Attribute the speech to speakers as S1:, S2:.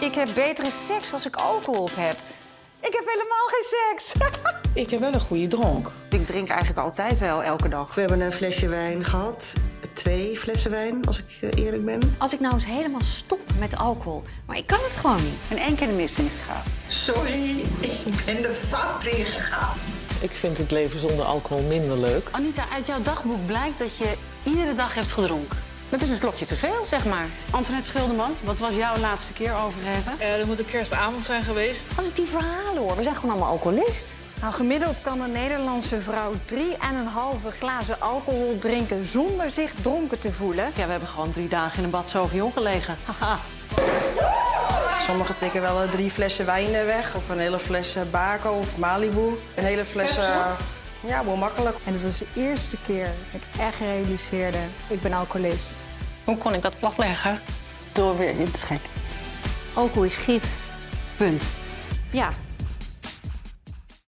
S1: Ik heb betere seks als ik alcohol op heb.
S2: Ik heb helemaal geen seks.
S3: Ik heb wel een goede dronk.
S1: Ik drink eigenlijk altijd wel, elke dag.
S4: We hebben een flesje wijn gehad. Twee flessen wijn, als ik eh, eerlijk ben.
S5: Als ik nou eens helemaal stop met alcohol. Maar ik kan het gewoon niet.
S2: En één keer de mist ingegaan.
S4: Sorry, ik ben de vat ingegaan.
S3: Ik vind het leven zonder alcohol minder leuk.
S2: Anita, uit jouw dagboek blijkt dat je iedere dag hebt gedronken.
S1: Dat is een slokje te veel, zeg maar.
S2: Antoinette Schilderman, wat was jouw laatste keer overgeven?
S6: Eh, dat moet een kerstavond zijn geweest.
S5: Als ik die verhalen hoor, we zijn gewoon allemaal alcoholist.
S7: Nou, gemiddeld kan een Nederlandse vrouw 3,5 glazen alcohol drinken zonder zich dronken te voelen.
S2: Ja, we hebben gewoon drie dagen in een bad Sauvignon gelegen. Haha.
S8: Sommigen tikken wel eh, drie flessen wijn eh, weg. Of een hele fles eh, Baco of Malibu. Een hele fles... eh, ja, wel makkelijk.
S7: En het was de eerste keer dat ik echt realiseerde, ik ben alcoholist.
S6: Hoe kon ik dat platleggen?
S2: Door weer in te schenken.
S5: Alcohol is gif.
S2: Punt.
S5: Ja,